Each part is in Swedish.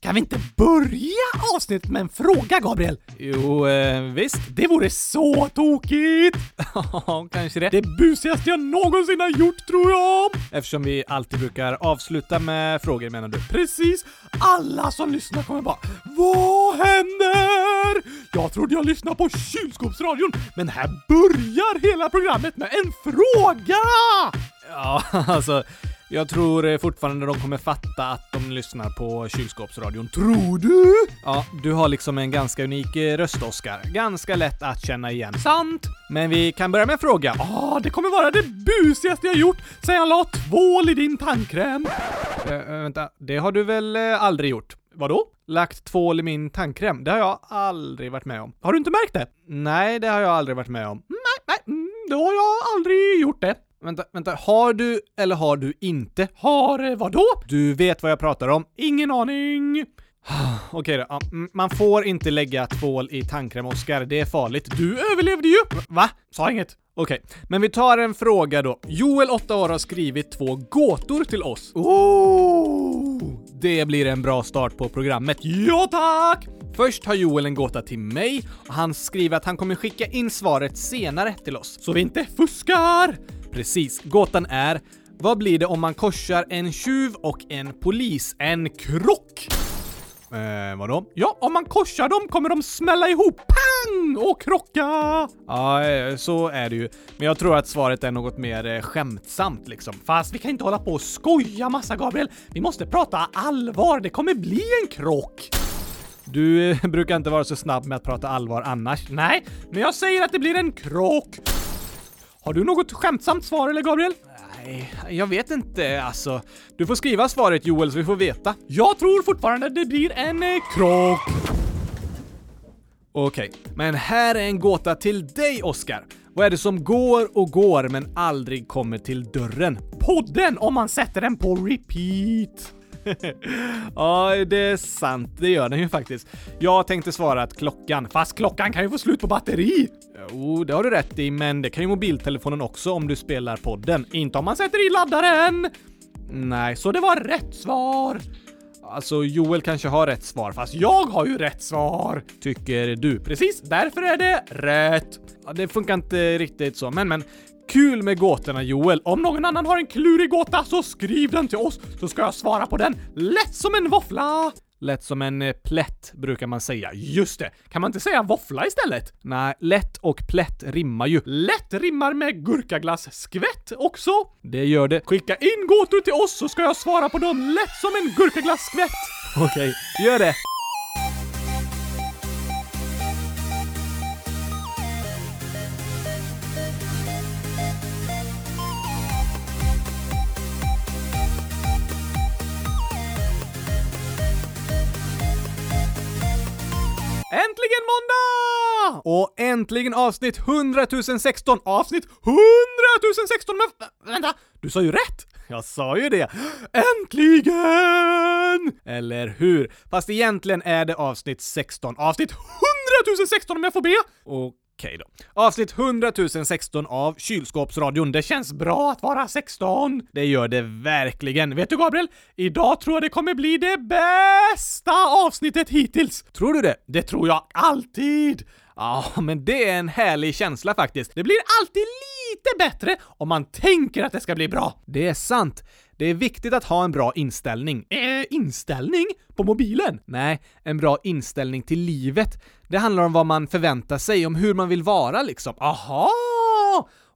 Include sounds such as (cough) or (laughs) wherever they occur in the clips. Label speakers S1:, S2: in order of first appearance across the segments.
S1: Kan vi inte börja avsnittet med en fråga, Gabriel?
S2: Jo, eh, visst. (laughs)
S1: Det vore så tokigt!
S2: Ja, kanske det.
S1: Det busigaste jag någonsin har gjort, tror jag!
S2: Eftersom vi alltid brukar avsluta med frågor menar du?
S1: Precis! Alla som lyssnar kommer bara Vad händer? Jag trodde jag lyssnade på kylskåpsradion, men här börjar hela programmet med en fråga!
S2: Ja, (laughs) alltså. Jag tror eh, fortfarande de kommer fatta att de lyssnar på kylskåpsradion.
S1: Tror du?
S2: Ja, du har liksom en ganska unik eh, röst, Oscar. Ganska lätt att känna igen. Sant! Men vi kan börja med en fråga.
S1: Ah, det kommer vara det busigaste jag gjort sen jag la tvål i din tandkräm.
S2: Eh, eh, vänta, det har du väl eh, aldrig gjort? Vadå? Lagt tvål i min tandkräm? Det har jag aldrig varit med om. Har du inte märkt det? Nej, det har jag aldrig varit med om.
S1: Nej, nej, mm, då har jag aldrig gjort det.
S2: Vänta, vänta. Har du eller har du inte?
S1: Har eh, vadå?
S2: Du vet vad jag pratar om.
S1: Ingen aning.
S2: Okej då. Ja, mm, Man får inte lägga tvål i tandkräm, Oskar. Det är farligt.
S1: Du överlevde ju!
S2: Va?
S1: Sa inget.
S2: Okej, men vi tar en fråga då. Joel, 8 år, har skrivit två gåtor till oss.
S1: Oh!
S2: Det blir en bra start på programmet.
S1: Ja tack!
S2: Först har Joel en gåta till mig och han skriver att han kommer skicka in svaret senare till oss.
S1: Så vi inte fuskar!
S2: Precis, gåtan är Vad blir det om man korsar en tjuv och en polis? En krock! Eh, vadå?
S1: Ja, om man korsar dem kommer de smälla ihop. Pang! Och krocka!
S2: Ja, eh, så är det ju. Men jag tror att svaret är något mer eh, skämtsamt liksom.
S1: Fast vi kan inte hålla på och skoja massa, Gabriel. Vi måste prata allvar. Det kommer bli en krock.
S2: Du eh, brukar inte vara så snabb med att prata allvar annars.
S1: Nej, men jag säger att det blir en krock. Har du något skämtsamt svar eller, Gabriel?
S2: Nej, jag vet inte alltså. Du får skriva svaret Joel så vi får veta.
S1: Jag tror fortfarande det blir en eh, krock.
S2: Okej, men här är en gåta till dig Oscar. Vad är det som går och går men aldrig kommer till dörren?
S1: Podden om man sätter den på repeat.
S2: ja, det är sant. Det gör den ju faktiskt. Jag tänkte svara att klockan,
S1: Fast klockan kan ju få slut på batteri.
S2: Jo, det har du rätt i, men det kan ju mobiltelefonen också om du spelar podden.
S1: Inte om man sätter i laddaren.
S2: Nej, så
S1: Så det var rätt svar.
S2: alltså Joel kanske har rätt svar, fast
S1: Fast jag har ju rätt svar.
S2: tycker du.
S1: Precis, därför är det rätt.
S2: Ja, det funkar inte riktigt så, men men. Kul med gåtorna Joel.
S1: Om någon annan har en klurig gåta så skriv den till oss så ska jag svara på den lätt som en våffla!
S2: Lätt som en eh, plätt brukar man säga.
S1: Just det, kan man inte säga våffla istället?
S2: Nej, lätt och plätt rimmar ju.
S1: Lätt rimmar med gurkaglass-skvätt också.
S2: Det gör det.
S1: Skicka in gåtor till oss så ska jag svara på dem lätt som en (laughs) gurkaglass-skvätt!
S2: Okej, gör det.
S1: Äntligen måndag!
S2: Och äntligen avsnitt 100 016
S1: Avsnitt 100 016 men... vä- Vänta, du sa ju rätt!
S2: Jag sa ju det!
S1: Äntligen!
S2: Eller hur? Fast egentligen är det avsnitt 16 av...
S1: Avsnitt 100 016 om jag får be!
S2: Okej då. Avsnitt 100 016 av Kylskåpsradion. Det känns...
S1: Känns bra att vara 16!
S2: Det gör det verkligen. Vet
S1: Vet du Gabriel, idag tror jag det kommer bli det bästa avsnittet hittills!
S2: du- Tror du det?
S1: Det tror jag alltid!
S2: Ja, men det är en härlig känsla faktiskt.
S1: Det blir alltid lite bättre om man tänker att det ska bli bra.
S2: Det är sant. Det är viktigt att ha en bra inställning.
S1: Eh, inställning på mobilen?
S2: Nej, en bra inställning till livet. Det handlar om vad man förväntar sig, om hur man vill vara liksom. Aha!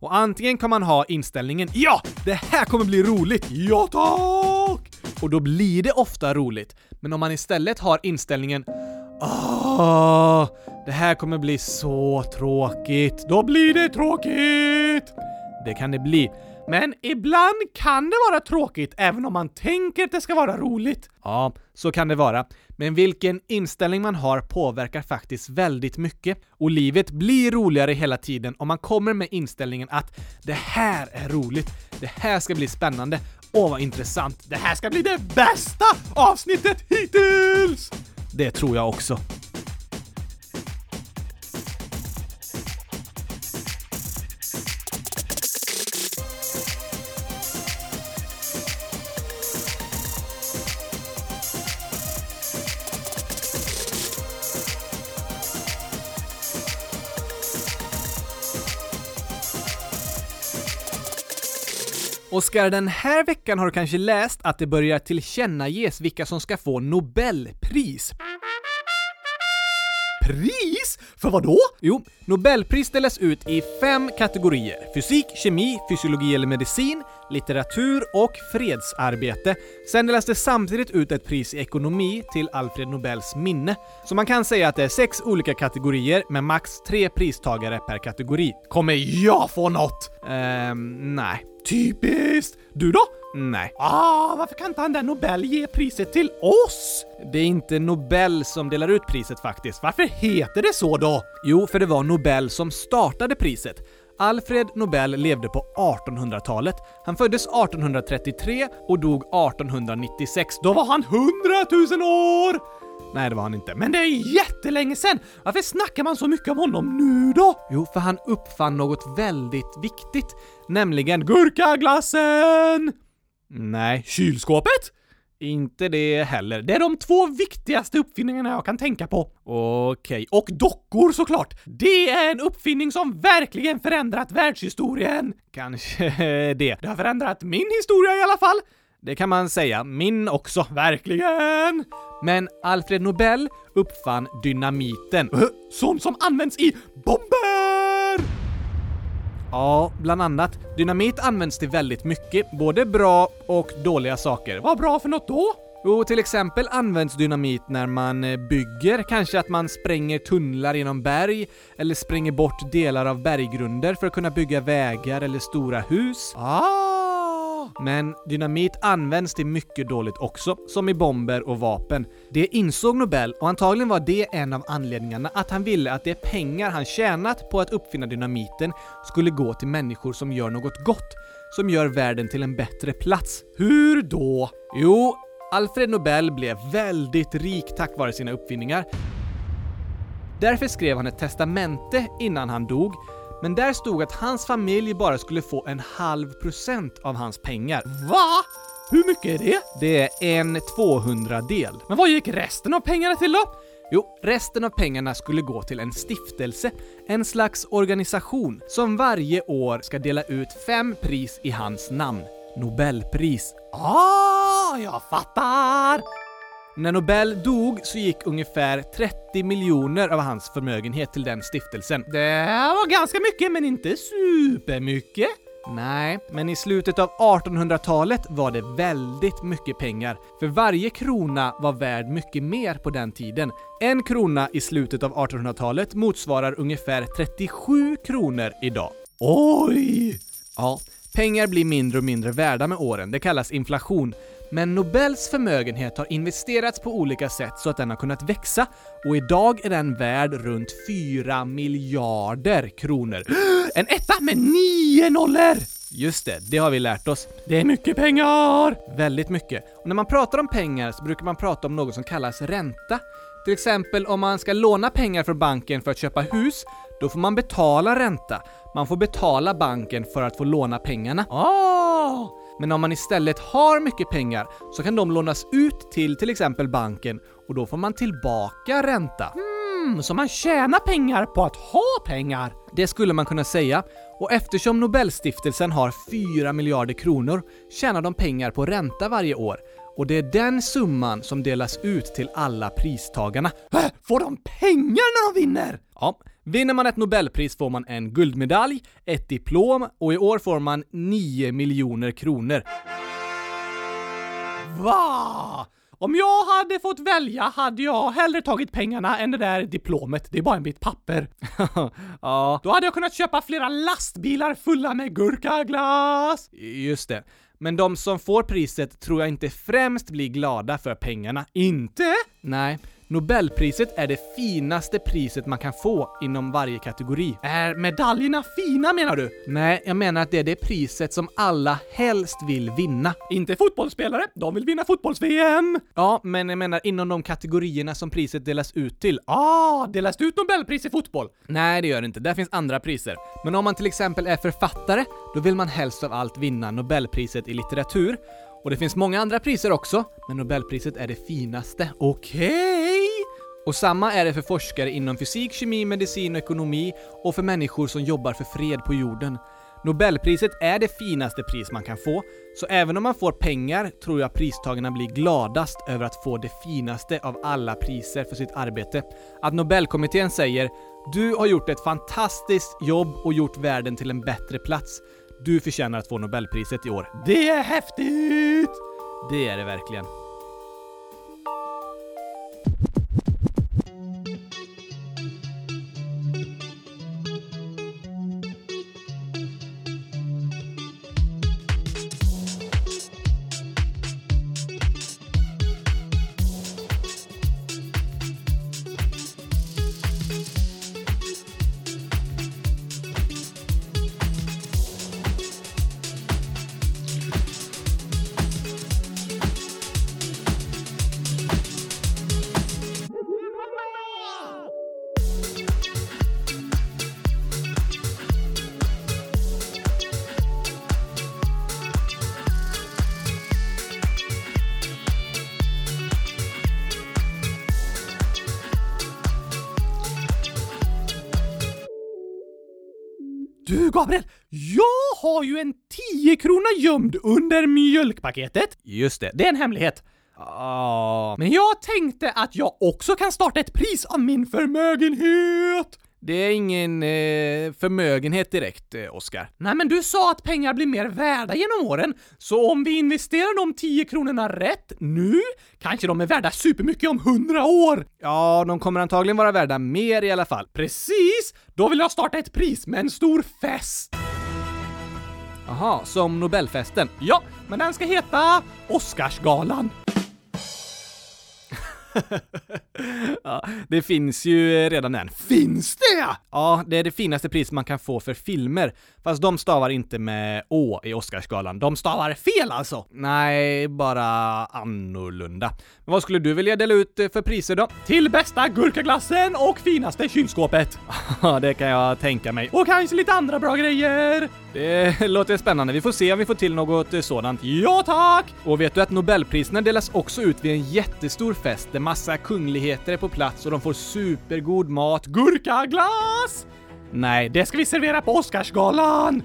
S2: Och antingen kan man ha inställningen Ja! Det här kommer bli roligt!
S1: Ja tack!
S2: Och då blir det ofta roligt. Men om man istället har inställningen Åh, det här kommer bli så tråkigt.
S1: Då blir det tråkigt!
S2: Det kan det bli.
S1: Men ibland kan det vara tråkigt även om man tänker att det ska vara roligt.
S2: Ja, så kan det vara. Men vilken inställning man har påverkar faktiskt väldigt mycket. Och livet blir roligare hela tiden om man kommer med inställningen att det här är roligt, det här ska bli spännande, åh vad intressant.
S1: Det här ska bli det bästa avsnittet hittills!
S2: Det tror jag också. Oskar, den här veckan har du kanske läst att det börjar tillkännages vilka som ska få Nobelpris.
S1: Pris? För vad då?
S2: Jo, Nobelpris delas ut i fem kategorier. Fysik, kemi, fysiologi eller medicin, litteratur och fredsarbete. Sen delas det samtidigt ut ett pris i ekonomi till Alfred Nobels minne. Så man kan säga att det är sex olika kategorier med max tre pristagare per kategori.
S1: Kommer jag få något?
S2: Ehm, nej.
S1: Typiskt! Du då?
S2: Nej.
S1: Ah, varför kan inte han där Nobel ge priset till oss?
S2: Det är inte Nobel som delar ut priset faktiskt.
S1: Varför heter det så då?
S2: Jo, för det var Nobel som startade priset. Alfred Nobel levde på 1800-talet. Han föddes 1833 och dog 1896.
S1: Då var han hundratusen år!
S2: Nej, det var han inte. Men
S1: Men det är jättelänge sen! Varför snackar man så mycket om honom nu då?
S2: jo, för han uppfann något väldigt viktigt, nämligen...
S1: Gurkaglassen!
S2: Nej,
S1: Kylskåpet?
S2: inte det heller.
S1: Det är de två viktigaste uppfinningarna jag kan tänka på.
S2: Okej,
S1: Och dockor såklart! Det är en uppfinning som verkligen förändrat världshistorien!
S2: kanske (laughs) det.
S1: Det har förändrat min historia i alla fall!
S2: Det kan man säga. Min också, verkligen.
S1: Verkligen!
S2: Men Alfred Nobel uppfann dynamiten.
S1: Ö, Eh, Sånt som används i bomber!
S2: Ja, bland annat. Dynamit används till väldigt mycket, både bra och dåliga saker.
S1: Vad bra för något då?
S2: Och till exempel används dynamit när man eh, bygger, kanske att man spränger tunnlar genom berg, eller spränger bort delar av berggrunder för att kunna bygga vägar eller stora hus.
S1: Ah!
S2: Men dynamit används till mycket dåligt också, som i bomber och vapen. Det insåg Nobel och antagligen var det en av anledningarna att han ville att de pengar han tjänat på att uppfinna dynamiten skulle gå till människor som gör något gott, som gör världen till en bättre plats.
S1: Hur då?
S2: Jo, Alfred Nobel blev väldigt rik tack vare sina uppfinningar. Därför skrev han ett testamente innan han dog, men där stod att hans familj bara skulle få en halv procent av hans pengar.
S1: Va? Hur mycket är det?
S2: Det är en 200-del.
S1: Men vad gick resten av pengarna till då?
S2: Jo, resten av pengarna skulle gå till en stiftelse, en slags organisation som varje år ska dela ut fem pris i hans namn. Nobelpris.
S1: Ah, jag fattar!
S2: När Nobel dog så gick ungefär 30 miljoner av hans förmögenhet till den stiftelsen.
S1: Det var ganska mycket, men inte supermycket.
S2: Nej, men i slutet av 1800-talet var det väldigt mycket pengar. För varje krona var värd mycket mer på den tiden. En krona i slutet av 1800-talet motsvarar ungefär 37 kronor idag.
S1: Oj!
S2: Ja, pengar blir mindre och mindre värda med åren. Det kallas inflation. Men Nobels förmögenhet har investerats på olika sätt så att den har kunnat växa och idag är den värd runt 4 miljarder kronor. (gasps)
S1: En etta med nio nollor!
S2: Just det, det har vi lärt oss.
S1: Det är mycket pengar!
S2: Väldigt mycket. Och när man pratar om pengar så brukar man prata om något som kallas ränta. Till exempel om man ska låna pengar från banken för att köpa hus, då får man betala ränta. Man får betala banken för att få låna pengarna.
S1: Ah!
S2: Men om man istället har mycket pengar så kan de lånas ut till till exempel banken och då får man tillbaka ränta.
S1: Mm, så man tjänar pengar på att ha pengar?
S2: Det skulle man kunna säga. Och eftersom Nobelstiftelsen har 4 miljarder kronor tjänar de pengar på ränta varje år. Och det är den summan som delas ut till alla pristagarna.
S1: Äh, Får de pengar när de vinner?
S2: Ja, vinner man ett Nobelpris får man en guldmedalj, ett diplom och i år får man 9 miljoner kronor.
S1: Va? Om jag hade fått välja hade jag hellre tagit pengarna än det där diplomet. Det är bara en bit papper.
S2: (laughs) ja,
S1: Då hade jag kunnat köpa flera lastbilar fulla med gurkaglass!
S2: just det. Men de som får priset tror jag inte främst blir glada för pengarna.
S1: Inte?
S2: Nej, Nobelpriset är det finaste priset man kan få inom varje kategori.
S1: Är medaljerna fina menar du?
S2: Nej, jag menar att det är det priset som alla helst vill vinna.
S1: Inte fotbollsspelare, de vill vinna fotbolls-VM!
S2: Ja, men jag menar inom de kategorierna som priset delas ut till.
S1: Ah, delas det ut Nobelpris i fotboll?
S2: Nej, det gör det inte. Där finns andra priser. Men om man till exempel är författare, då vill man helst av allt vinna Nobelpriset i litteratur. Och det finns många andra priser också, men Nobelpriset är det finaste.
S1: Okej!
S2: Och samma är det för forskare inom fysik, kemi, medicin och ekonomi och för människor som jobbar för fred på jorden. Nobelpriset är det finaste pris man kan få, så även om man får pengar tror jag pristagarna blir gladast över att få det finaste av alla priser för sitt arbete. Att Nobelkommittén säger “Du har gjort ett fantastiskt jobb och gjort världen till en bättre plats. Du förtjänar att få Nobelpriset i år.”
S1: Det är häftigt!
S2: Det är det verkligen.
S1: Du Gabriel, jag har ju en 10 krona gömd under mjölkpaketet.
S2: Just det.
S1: Det är en hemlighet.
S2: Ah,
S1: Men jag tänkte att jag också kan starta ett pris av min förmögenhet.
S2: det är ingen eh, förmögenhet direkt, eh, Oskar.
S1: Nej men du sa att pengar blir mer värda genom åren, så om vi investerar de 10 kronorna rätt nu kanske de är värda supermycket om 100 år.
S2: Ja, de kommer antagligen vara värda mer i alla fall.
S1: Precis! Då vill jag starta ett pris med en stor fest.
S2: Aha, som Nobelfesten.
S1: Ja, men den ska heta Oscarsgalan.
S2: Ja, det finns ju eh, redan en.
S1: Finns det?
S2: Ja, det är det finaste pris man kan få för filmer. Fast de stavar inte med Å i Oscarsgalan. De stavar fel alltså! Nej, bara annorlunda. Men vad skulle du vilja dela ut eh, för priser då?
S1: Till bästa gurkaglassen och finaste (laughs) kylskåpet.
S2: Ja, det kan jag tänka mig.
S1: Och kanske lite andra bra grejer.
S2: Det (laughs) låter spännande. Vi får se om vi får till något eh, sådant.
S1: Ja tack!
S2: Och vet du att Nobelpriserna delas också ut vid en jättestor fest där massa kungligheter är på plats och de får supergod mat.
S1: Gurkaglass!
S2: Nej, det...
S1: Det ska vi servera på Oscarsgalan!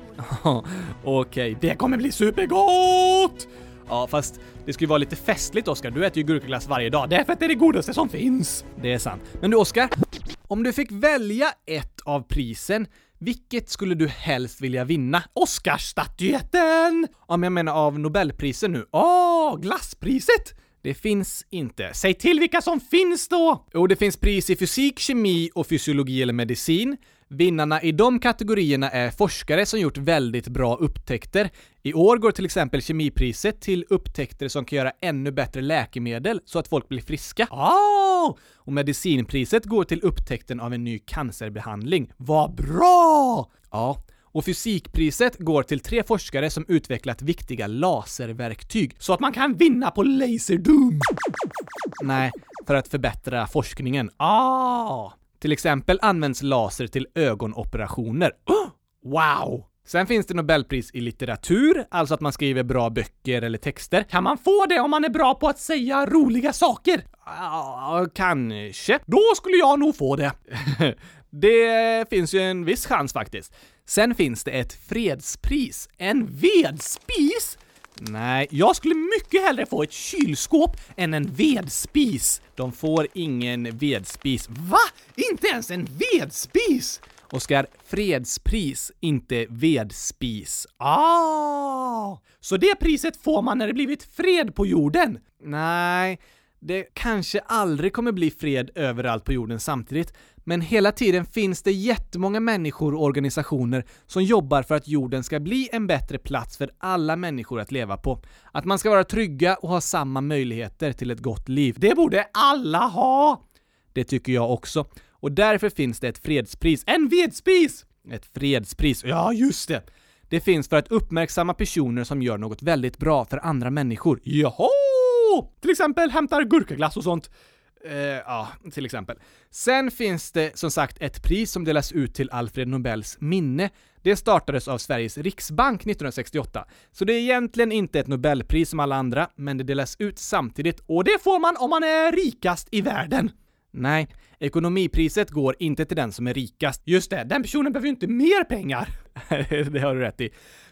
S2: Okej.
S1: Det kommer bli supergott!
S2: Ja, fast det skulle vara lite festligt Oskar. Du äter ju gurkaglass varje dag. Det,
S1: Därför att det är det godaste som finns.
S2: det är sant. Men du Oskar, om du fick välja ett av prisen, vilket skulle du helst vilja vinna?
S1: Oscarsstatyetten!
S2: Ja, men jag menar av Nobelprisen nu.
S1: Åh, glasspriset!
S2: Det finns inte.
S1: Säg till vilka som finns då!
S2: Jo, det finns pris i fysik, kemi och fysiologi eller medicin. Vinnarna i de kategorierna är forskare som gjort väldigt bra upptäckter. I år går till exempel kemipriset till upptäckter som kan göra ännu bättre läkemedel så att folk blir friska.
S1: Åh,
S2: Och medicinpriset går till upptäckten av en ny cancerbehandling.
S1: vad bra!
S2: Ja. Och fysikpriset går till tre forskare som utvecklat viktiga laserverktyg.
S1: Så att man kan vinna på Laserdoom!
S2: Nej, för att förbättra forskningen.
S1: Ah,
S2: Till exempel används laser till ögonoperationer. Oh!
S1: wow!
S2: Sen finns det Nobelpris i litteratur, alltså att man skriver bra böcker eller texter.
S1: Kan man få det om man är bra på att säga roliga saker?
S2: Ja, Ah, kanske.
S1: Då skulle jag nog få det.
S2: (laughs) Det finns ju en viss chans faktiskt. Sen finns det ett fredspris.
S1: En vedspis?
S2: Nej,
S1: Jag skulle mycket hellre få ett kylskåp än en vedspis.
S2: de får ingen vedspis.
S1: Va? Inte ens en vedspis?
S2: Oskar, fredspris, inte vedspis.
S1: Ah! Så det priset får man när det blivit fred på jorden?
S2: Nej, det kanske aldrig kommer bli fred överallt på jorden samtidigt, men hela tiden finns det jättemånga människor och organisationer som jobbar för att jorden ska bli en bättre plats för alla människor att leva på. Att man ska vara trygga och ha samma möjligheter till ett gott liv.
S1: Det borde alla ha!
S2: Det tycker jag också. Och därför finns det ett fredspris.
S1: En vedspis!
S2: Ett fredspris. Ja, just det! Det finns för att uppmärksamma personer som gör något väldigt bra för andra människor.
S1: Jaha! Till exempel hämtar gurkaglass och sånt.
S2: Eh, ja, till exempel. Sen finns det som sagt ett pris som delas ut till Alfred Nobels minne. Det startades av Sveriges Riksbank 1968. Så det är egentligen inte ett Nobelpris som alla andra, men det delas ut samtidigt och
S1: Och det får man om man är rikast i världen.
S2: Nej, ekonomipriset går inte till den som är rikast.
S1: Just det, den personen behöver ju inte mer pengar.
S2: (laughs) det har du rätt i.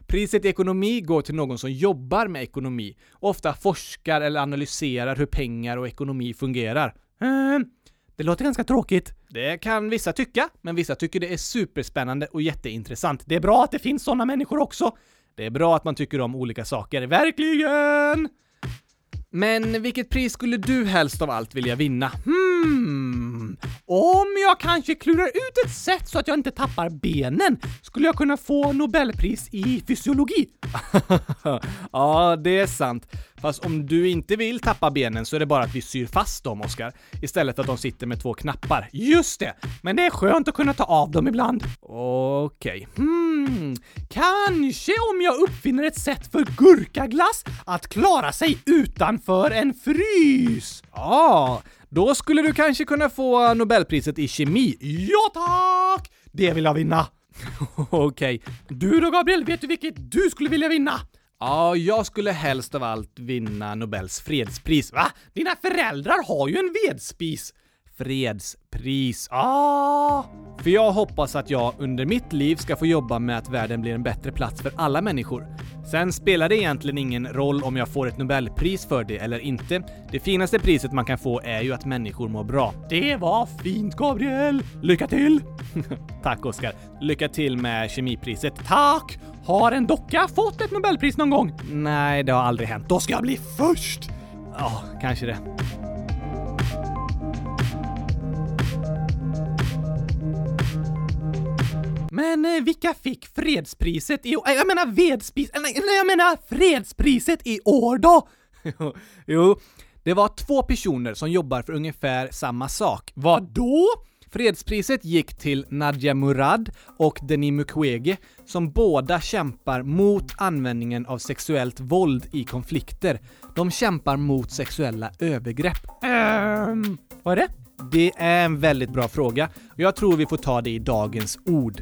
S2: Priset i ekonomi går till någon som jobbar med ekonomi och ofta forskar eller analyserar hur pengar och ekonomi fungerar.
S1: Ehm, det låter ganska tråkigt.
S2: Det kan vissa tycka, men vissa tycker det är superspännande och jätteintressant.
S1: Det är bra att det finns sådana människor också.
S2: Det är bra att man tycker om olika saker, verkligen! Men vilket pris skulle du helst av allt vilja vinna?
S1: Hmm. Om jag kanske klurar ut ett sätt så att jag inte tappar benen skulle jag kunna få Nobelpris i fysiologi.
S2: (laughs) ja, det är sant. Fast om du inte vill tappa benen så är det bara att vi syr fast dem, Oskar. Istället att de sitter med två knappar.
S1: Just det, men det är skönt att kunna ta av dem ibland.
S2: Okej.
S1: Hmm. Kanske om jag uppfinner ett sätt för gurkaglass att klara sig utanför en frys.
S2: Ja, då skulle du kanske kunna få Nobelpriset i kemi.
S1: Ja tack! Det vill jag vinna. (laughs)
S2: Okej.
S1: Du då Gabriel, vet du vilket du skulle vilja vinna?
S2: Ja, jag skulle helst av allt vinna Nobels fredspris. Va?
S1: Va? Dina föräldrar har ju en vedspis.
S2: Fredspris. Ja,
S1: Ah!
S2: För jag hoppas att jag under mitt liv ska få jobba med att världen blir en bättre plats för alla människor. Sen spelar det egentligen ingen roll om jag får ett Nobelpris för det eller inte. Det finaste priset man kan få är ju att människor mår bra.
S1: Det var fint Gabriel! Lycka till!
S2: (laughs) Tack Oskar! Lycka till med kemipriset.
S1: Tack! Har en docka fått ett Nobelpris någon gång?
S2: Nej, det har aldrig hänt.
S1: Då ska jag bli först!
S2: Ja, kanske det.
S1: Men eh, vilka fick fredspriset i år? Eh, Jag menar vedspis... eh, Nej, nej, jag menar fredspriset i år då!
S2: (laughs) jo, det var två personer som jobbar för ungefär samma sak.
S1: Vadå?
S2: Fredspriset gick till Nadia Murad och Denis Mukwege som båda kämpar mot användningen av sexuellt våld i konflikter. De kämpar mot sexuella övergrepp.
S1: Ehm, vad är det?
S2: Det är en väldigt bra fråga och jag tror vi får ta det i dagens ord.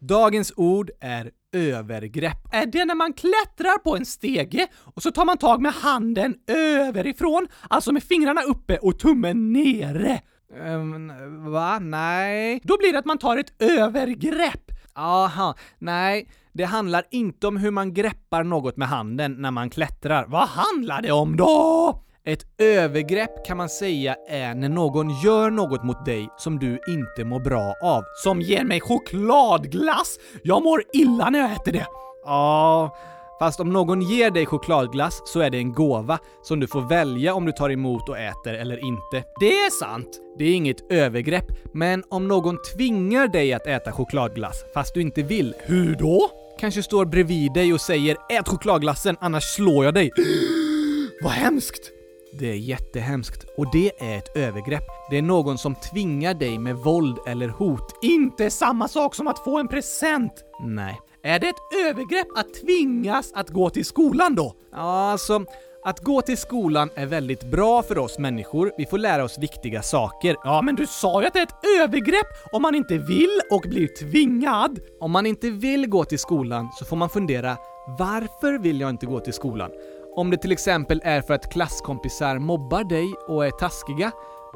S2: Dagens ord är övergrepp.
S1: Är det när man klättrar på en stege och så tar man tag med handen överifrån, alltså med fingrarna uppe och tummen nere?
S2: Um, va? Nej?
S1: Då blir det att man tar ett övergrepp.
S2: Aha, nej. Det handlar inte om hur man greppar något med handen när man klättrar. Va?
S1: Vad handlar det om då?
S2: Ett övergrepp kan man säga är när någon gör något mot dig som du inte mår bra av.
S1: Som ger mig chokladglass. Jag mår illa när jag äter det.
S2: Ja, fast om någon ger dig chokladglass så är det en gåva som du får välja om du tar emot och äter eller inte.
S1: Det är sant.
S2: Det är inget övergrepp, men om någon tvingar dig att äta chokladglass fast du inte vill,
S1: Hur då?
S2: kanske står bredvid dig och säger “Ät chokladglassen, annars slår jag dig”.
S1: Vad hemskt.
S2: Det är jättehemskt och det är ett övergrepp. Det är någon som tvingar dig med våld eller hot.
S1: Inte samma sak som att få en present.
S2: Nej.
S1: Är det ett övergrepp att tvingas att gå till skolan då?
S2: Ja, alltså, att gå till skolan är väldigt bra för oss människor. Vi får lära oss viktiga saker.
S1: Ja, men du sa ju att det är ett övergrepp om man inte vill och blir tvingad.
S2: Om man inte vill gå till skolan så får man fundera varför vill jag inte gå till skolan? Om det till exempel är för att klasskompisar mobbar dig och är taskiga,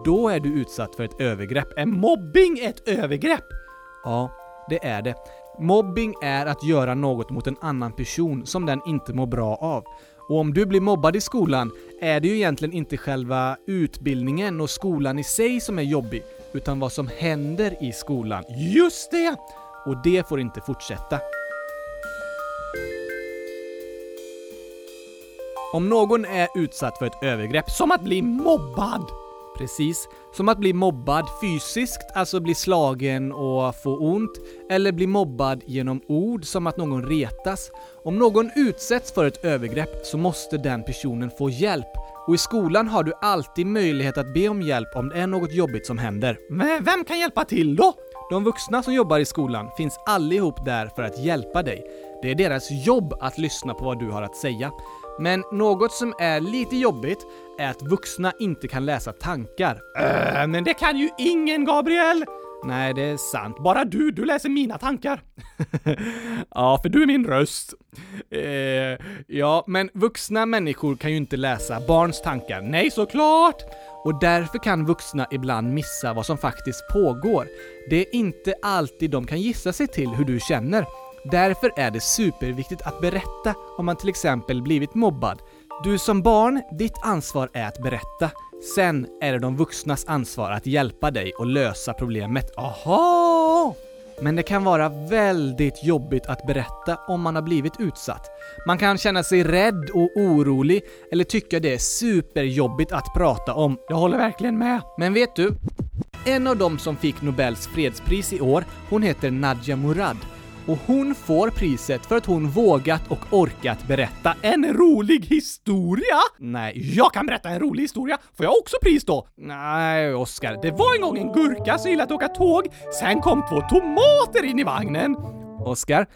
S2: då är du utsatt för ett övergrepp.
S1: Är mobbing ett övergrepp?
S2: Ja, det är det. Mobbing är att göra något mot en annan person som den inte mår bra av. Och om du blir mobbad i skolan är det ju egentligen inte själva utbildningen och skolan i sig som är jobbig, utan vad som händer i skolan.
S1: Just det!
S2: Och det får inte fortsätta. Om någon är utsatt för ett övergrepp
S1: Som att bli mobbad.
S2: Precis. Som att bli mobbad fysiskt, alltså bli slagen och få ont. Eller bli mobbad genom ord, som att någon retas. Om någon utsätts för ett övergrepp så måste den personen få hjälp. Och i skolan har du alltid möjlighet att be om hjälp om det är något jobbigt som händer.
S1: Men vem kan hjälpa till då?
S2: De vuxna som jobbar i skolan finns allihop där för att hjälpa dig. Det är deras jobb att lyssna på vad du har att säga. Men något som är lite jobbigt är att vuxna inte kan läsa tankar.
S1: Äh, men det kan ju ingen, Gabriel!
S2: Nej, det är sant.
S1: Bara du, du läser mina tankar. (laughs) ja, för du är min röst.
S2: Eh, ja, men vuxna människor kan ju inte läsa barns tankar. Nej,
S1: Såklart!
S2: och därför kan vuxna ibland missa vad som faktiskt pågår. Det är inte alltid de kan gissa sig till hur du känner. Därför är det superviktigt att berätta om man till exempel blivit mobbad. Du som barn, ditt ansvar är att berätta. Sen är det de vuxnas ansvar att hjälpa dig och lösa problemet. Aha! Men det kan vara väldigt jobbigt att berätta om man har blivit utsatt. Man kan känna sig rädd och orolig eller tycka det är superjobbigt att prata om. Jag håller verkligen med. Men vet du? En av dem som fick Nobels fredspris i år, hon heter Nadja Murad. Och hon får priset för att hon vågat och orkat berätta en
S1: Rolig historia!
S2: Nej,
S1: Jag kan berätta en rolig historia. Får jag också pris då?
S2: nej Oskar.
S1: Det var en gång en gurka som gillade att åka tåg. Sen kom två tomater in i vagnen.
S2: Oskar,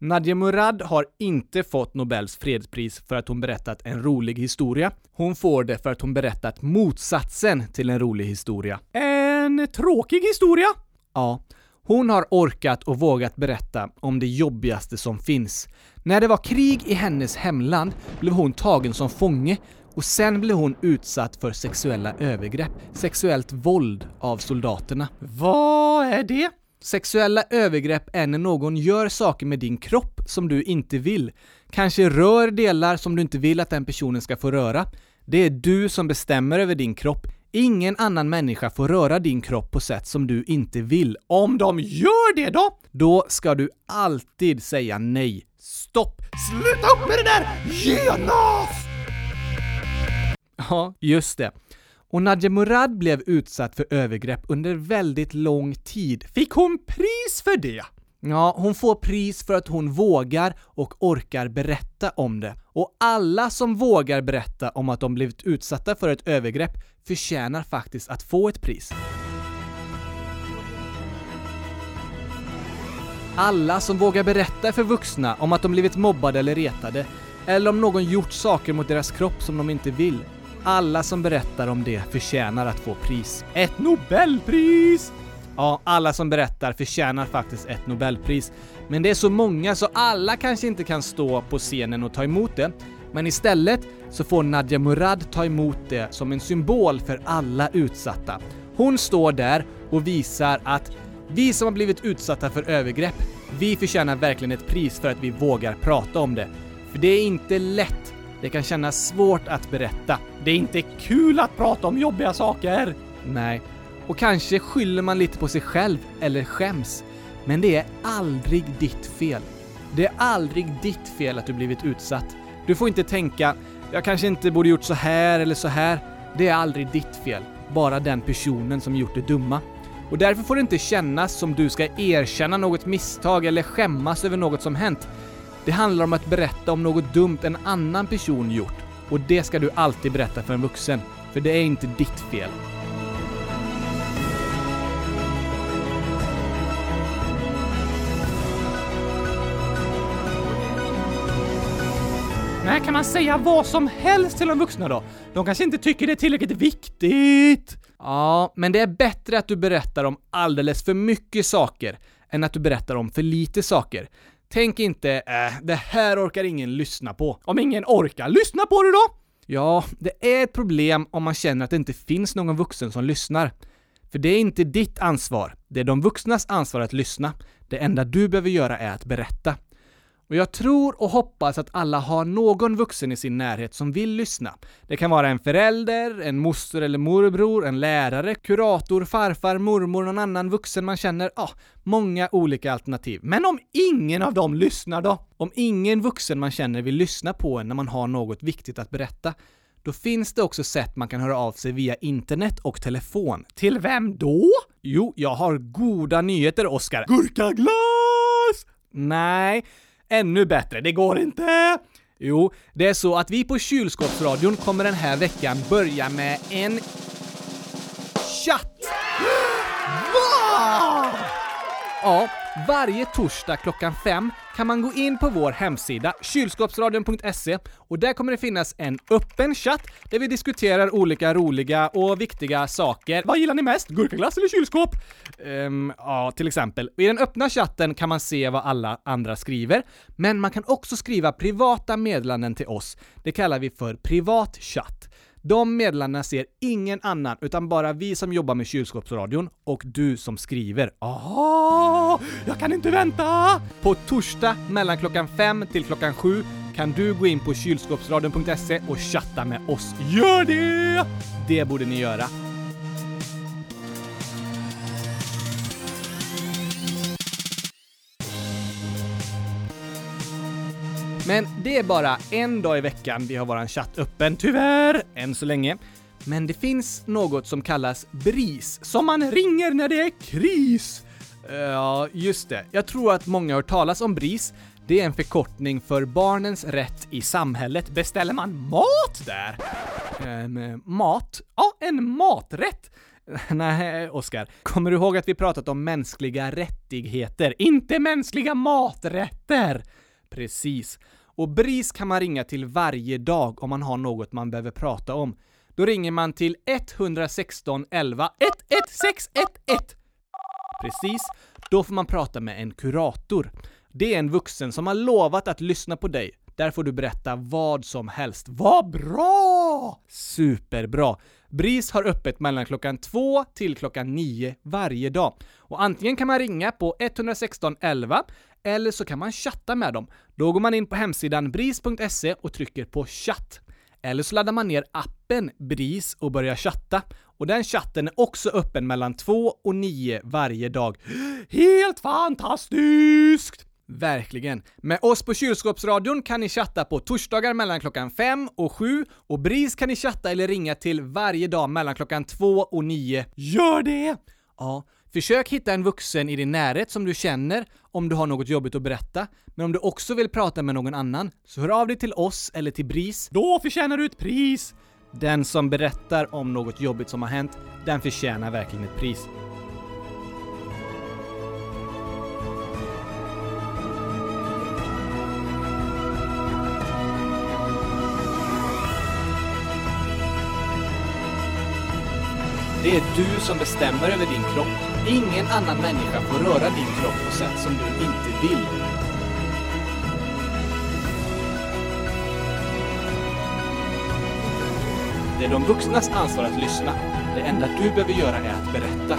S2: Nadia Murad har inte fått Nobels fredspris för att hon berättat en rolig historia. Hon får det för att hon berättat motsatsen till en rolig historia.
S1: En tråkig historia.
S2: Ja, hon har orkat och vågat berätta om det jobbigaste som finns. När det var krig i hennes hemland blev hon tagen som fånge och sen blev hon utsatt för sexuella övergrepp, sexuellt våld av soldaterna.
S1: Vad är det?
S2: Sexuella övergrepp är när någon gör saker med din kropp som du inte vill. Kanske rör delar som du inte vill att den personen ska få röra. Det är du som bestämmer över din kropp. Ingen annan människa får röra din kropp på sätt som du inte vill.
S1: Om de gör det då?
S2: Då ska du alltid säga nej. Stopp!
S1: Sluta upp med det där! Genast!
S2: Ja, just det. Och Nadja Murad blev utsatt för övergrepp under väldigt lång tid.
S1: Fick hon pris för det?
S2: Ja, hon får pris för att hon vågar och orkar berätta om det. Och alla som vågar berätta om att de blivit utsatta för ett övergrepp förtjänar faktiskt att få ett pris. Alla som vågar berätta för vuxna om att de blivit mobbade eller retade, eller om någon gjort saker mot deras kropp som de inte vill. Alla som berättar om det förtjänar att få pris.
S1: Ett Nobelpris!
S2: Ja, alla som berättar förtjänar faktiskt ett Nobelpris. Men det är så många så alla kanske inte kan stå på scenen och ta emot det. Men istället så får Nadja Murad ta emot det som en symbol för alla utsatta. Hon står där och visar att vi som har blivit utsatta för övergrepp, vi förtjänar verkligen ett pris för att vi vågar prata om det. För det är inte lätt. Det kan kännas svårt att berätta.
S1: Det är inte kul att prata om jobbiga saker.
S2: Nej. Och kanske skyller man lite på sig själv eller skäms. Men det är aldrig ditt fel. Det är aldrig ditt fel att du blivit utsatt. Du får inte tänka “jag kanske inte borde gjort så här eller så här”. Det är aldrig ditt fel. Bara den personen som gjort det dumma. Och därför får det inte kännas som du ska erkänna något misstag eller skämmas över något som hänt. Det handlar om att berätta om något dumt en annan person gjort. Och det ska du alltid berätta för en vuxen. För det är inte ditt fel.
S1: Nej, kan man säga vad som helst till de vuxna då? De kanske inte tycker det är tillräckligt viktigt.
S2: Ja, men det är bättre att du berättar om alldeles för mycket saker än att du berättar om för lite saker. Tänk inte äh, det här orkar ingen lyssna på.
S1: Om ingen orkar lyssna på det då?
S2: Ja, det är ett problem om man känner att det inte finns någon vuxen som lyssnar. För det är inte ditt ansvar. Det är de vuxnas ansvar att lyssna. Det enda du behöver göra är att berätta. Och jag tror och hoppas att alla har någon vuxen i sin närhet som vill lyssna. Det kan vara en förälder, en moster eller morbror, en lärare, kurator, farfar, mormor, någon annan vuxen man känner. Ja, många olika alternativ. Men om ingen av dem lyssnar då? Om ingen vuxen man känner vill lyssna på en när man har något viktigt att berätta, då finns det också sätt man kan höra av sig via internet och telefon.
S1: Till vem då?
S2: Jo, jag har goda nyheter, Oskar.
S1: Gurkaglass!
S2: Nej, ännu bättre. Det går inte. Jo, det är så att vi på Kylskåpsradion kommer den här veckan börja med en chatt. (gasps)
S1: Ah!
S2: Ja, varje torsdag klockan fem kan man gå in på vår hemsida kylskåpsradion.se och där kommer det finnas en öppen chatt där vi diskuterar olika roliga och viktiga saker. Vad gillar ni mest? Gurkaglass eller kylskåp? Ehm, ja, till exempel. I den öppna chatten kan man se vad alla andra skriver, men man kan också skriva privata meddelanden till oss. Det kallar vi för privat chatt. De meddelandena ser ingen annan, utan bara vi som jobbar med kylskåpsradion och du som skriver.
S1: Ah, jag kan inte vänta!
S2: På torsdag mellan klockan 5 till klockan 7 kan du gå in på kylskåpsradion.se E och chatta med oss.
S1: Gör det!
S2: Det borde ni göra. Men det är bara en dag i veckan vi har våran chatt öppen, tyvärr, än så länge. Men det finns något som kallas BRIS, som man ringer när det är kris. Eh, Ja, just det. Jag tror att många har hört talas om BRIS. Det är en förkortning för Barnens Rätt i Samhället. Beställer man mat där? Ehm, mat? Ja, en maträtt! (laughs) Nej, Oskar. Kommer du ihåg att vi pratat om mänskliga rättigheter? Inte mänskliga maträtter! Precis. Och BRIS kan man ringa till varje dag om man har något man behöver prata om. Då ringer man till 116 11 11611. Precis. Då får man prata med en kurator. Det är en vuxen som har lovat att lyssna på dig. Där får du berätta vad som helst. Vad bra! Superbra! BRIS har öppet mellan klockan 2 till klockan 9 varje dag. Och antingen kan man ringa på 116 11 eller så kan man chatta med dem. Då går man in på hemsidan bris.se och trycker på chatt. Eller så laddar man ner appen BRIS och börjar chatta. Och den chatten är också öppen mellan 2 och 9 varje dag. Helt fantastiskt! Verkligen. Med oss på Kylskåpsradion kan ni chatta på torsdagar mellan klockan 5 och 7 och BRIS kan ni chatta eller ringa till varje dag mellan klockan 2 och 9.
S1: Gör det!
S2: Ja, försök hitta en vuxen i din närhet som du känner om du har något jobbigt att berätta. Men om du också vill prata med någon annan, så hör av dig till oss eller till BRIS.
S1: Då förtjänar du ett pris!
S2: Den som berättar om något jobbigt som har hänt, den förtjänar verkligen ett pris. Det är du som bestämmer över din kropp. Ingen annan människa får röra din kropp på sätt som du inte vill. Det är de vuxnas ansvar att lyssna. Det enda du behöver göra är att berätta.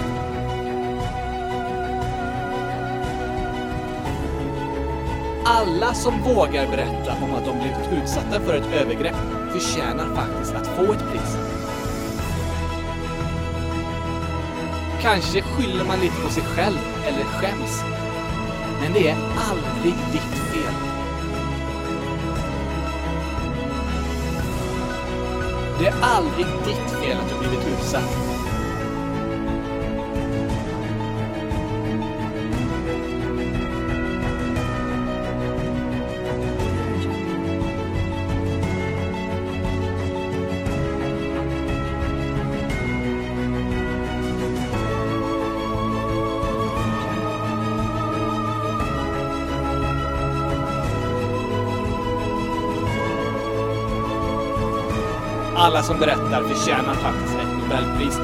S2: Alla som vågar berätta om att de blivit utsatta för ett övergrepp förtjänar faktiskt att få ett pris. Kanske skyller man lite på sig själv eller skäms. Men det är aldrig ditt fel. Det är aldrig ditt fel att du blivit utsatt. Alla som berättar förtjänar faktiskt ett Nobelpris.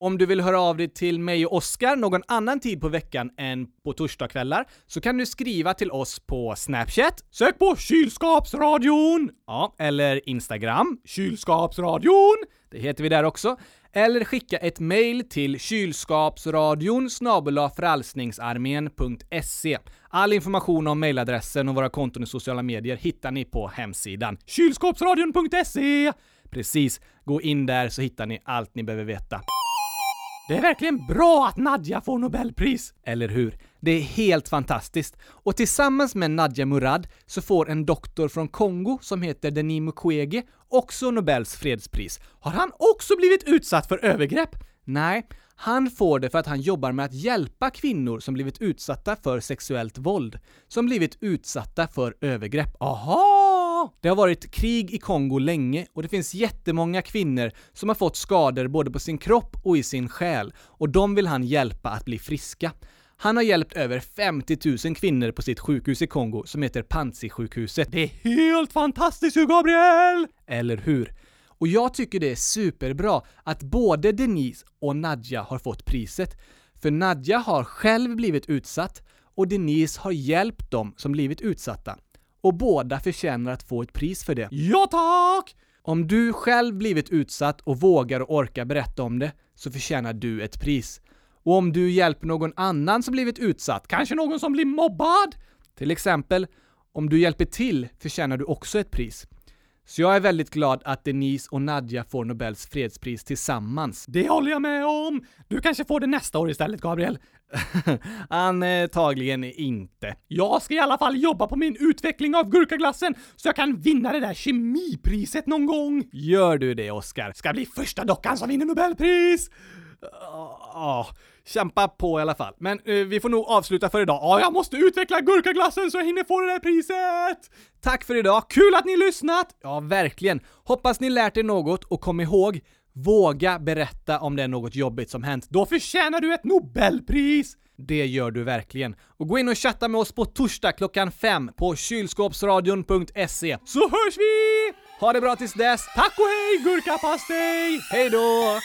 S2: Om du vill höra av dig till mig och Oskar någon annan tid på veckan än på torsdagskvällar så kan du skriva till oss på Snapchat,
S1: Sök på kylskåpsradion!
S2: ja, eller Instagram,
S1: Kylskåpsradion!
S2: det heter vi där också. Eller skicka ett mail till kylskapsradion frälsningsarmén.se. E. All information om mailadressen och våra konton i sociala medier hittar ni på hemsidan.
S1: Kylskåpsradion.se!
S2: E. Precis, gå in där så hittar ni allt ni behöver veta.
S1: Det är verkligen bra att Nadja får Nobelpris!
S2: Eller hur? Det är helt fantastiskt. Och tillsammans med Nadja Murad så får en doktor från Kongo som heter Denis Mukwege också Nobels fredspris. Har han också blivit utsatt för övergrepp? Nej, han får det för att han jobbar med att hjälpa kvinnor som blivit utsatta för sexuellt våld. Som blivit utsatta för övergrepp. Aha!
S3: Wow!
S2: Det har varit krig i Kongo länge och det finns jättemånga kvinnor som har fått skador både på sin kropp och i sin själ och de vill han hjälpa att bli friska. Han har hjälpt över 50 000 kvinnor på sitt sjukhus i Kongo som heter Panzisjukhuset.
S1: Det är helt fantastiskt Hugo Gabriel!
S2: Eller hur? Och jag tycker det är superbra att både Denise och Nadja har fått priset. För Nadja har själv blivit utsatt och Denise har hjälpt dem som blivit utsatta. Och båda förtjänar att få ett pris för det.
S1: Ja tack!
S2: Om du själv blivit utsatt och vågar och orkar berätta om det, så förtjänar du ett pris. Och om du hjälper någon annan som blivit utsatt, kanske någon som blir mobbad, till exempel, om du hjälper till förtjänar du också ett pris. Så jag är väldigt glad att Denise och Nadja får Nobels fredspris tillsammans.
S1: Det håller jag med om! Du kanske får det nästa år istället Gabriel. (laughs)
S2: Antagligen inte.
S1: Jag ska i alla fall jobba på min utveckling av gurkaglassen så jag kan vinna det där kemipriset någon gång!
S2: Gör du det, Oscar?
S1: Ska bli första dockan som vinner Nobelpris!
S2: Ja, kämpa på i alla fall. Men eh, vi får nog avsluta för idag.
S1: Ja, jag måste utveckla gurkaglassen så jag hinner få det där priset!
S2: Tack för idag! Kul att ni lyssnat! Ja, verkligen. Hoppas ni lärt er något och kom ihåg, våga berätta om det är något jobbigt som hänt.
S1: Då förtjänar du ett Nobelpris!
S2: Det gör du verkligen. Och gå in och chatta med oss på torsdag klockan fem på kylskåpsradion.se.
S1: Så hörs vi!
S2: Ha det bra tills dess!
S1: Tack och hej gurkapastej!
S2: Hej då!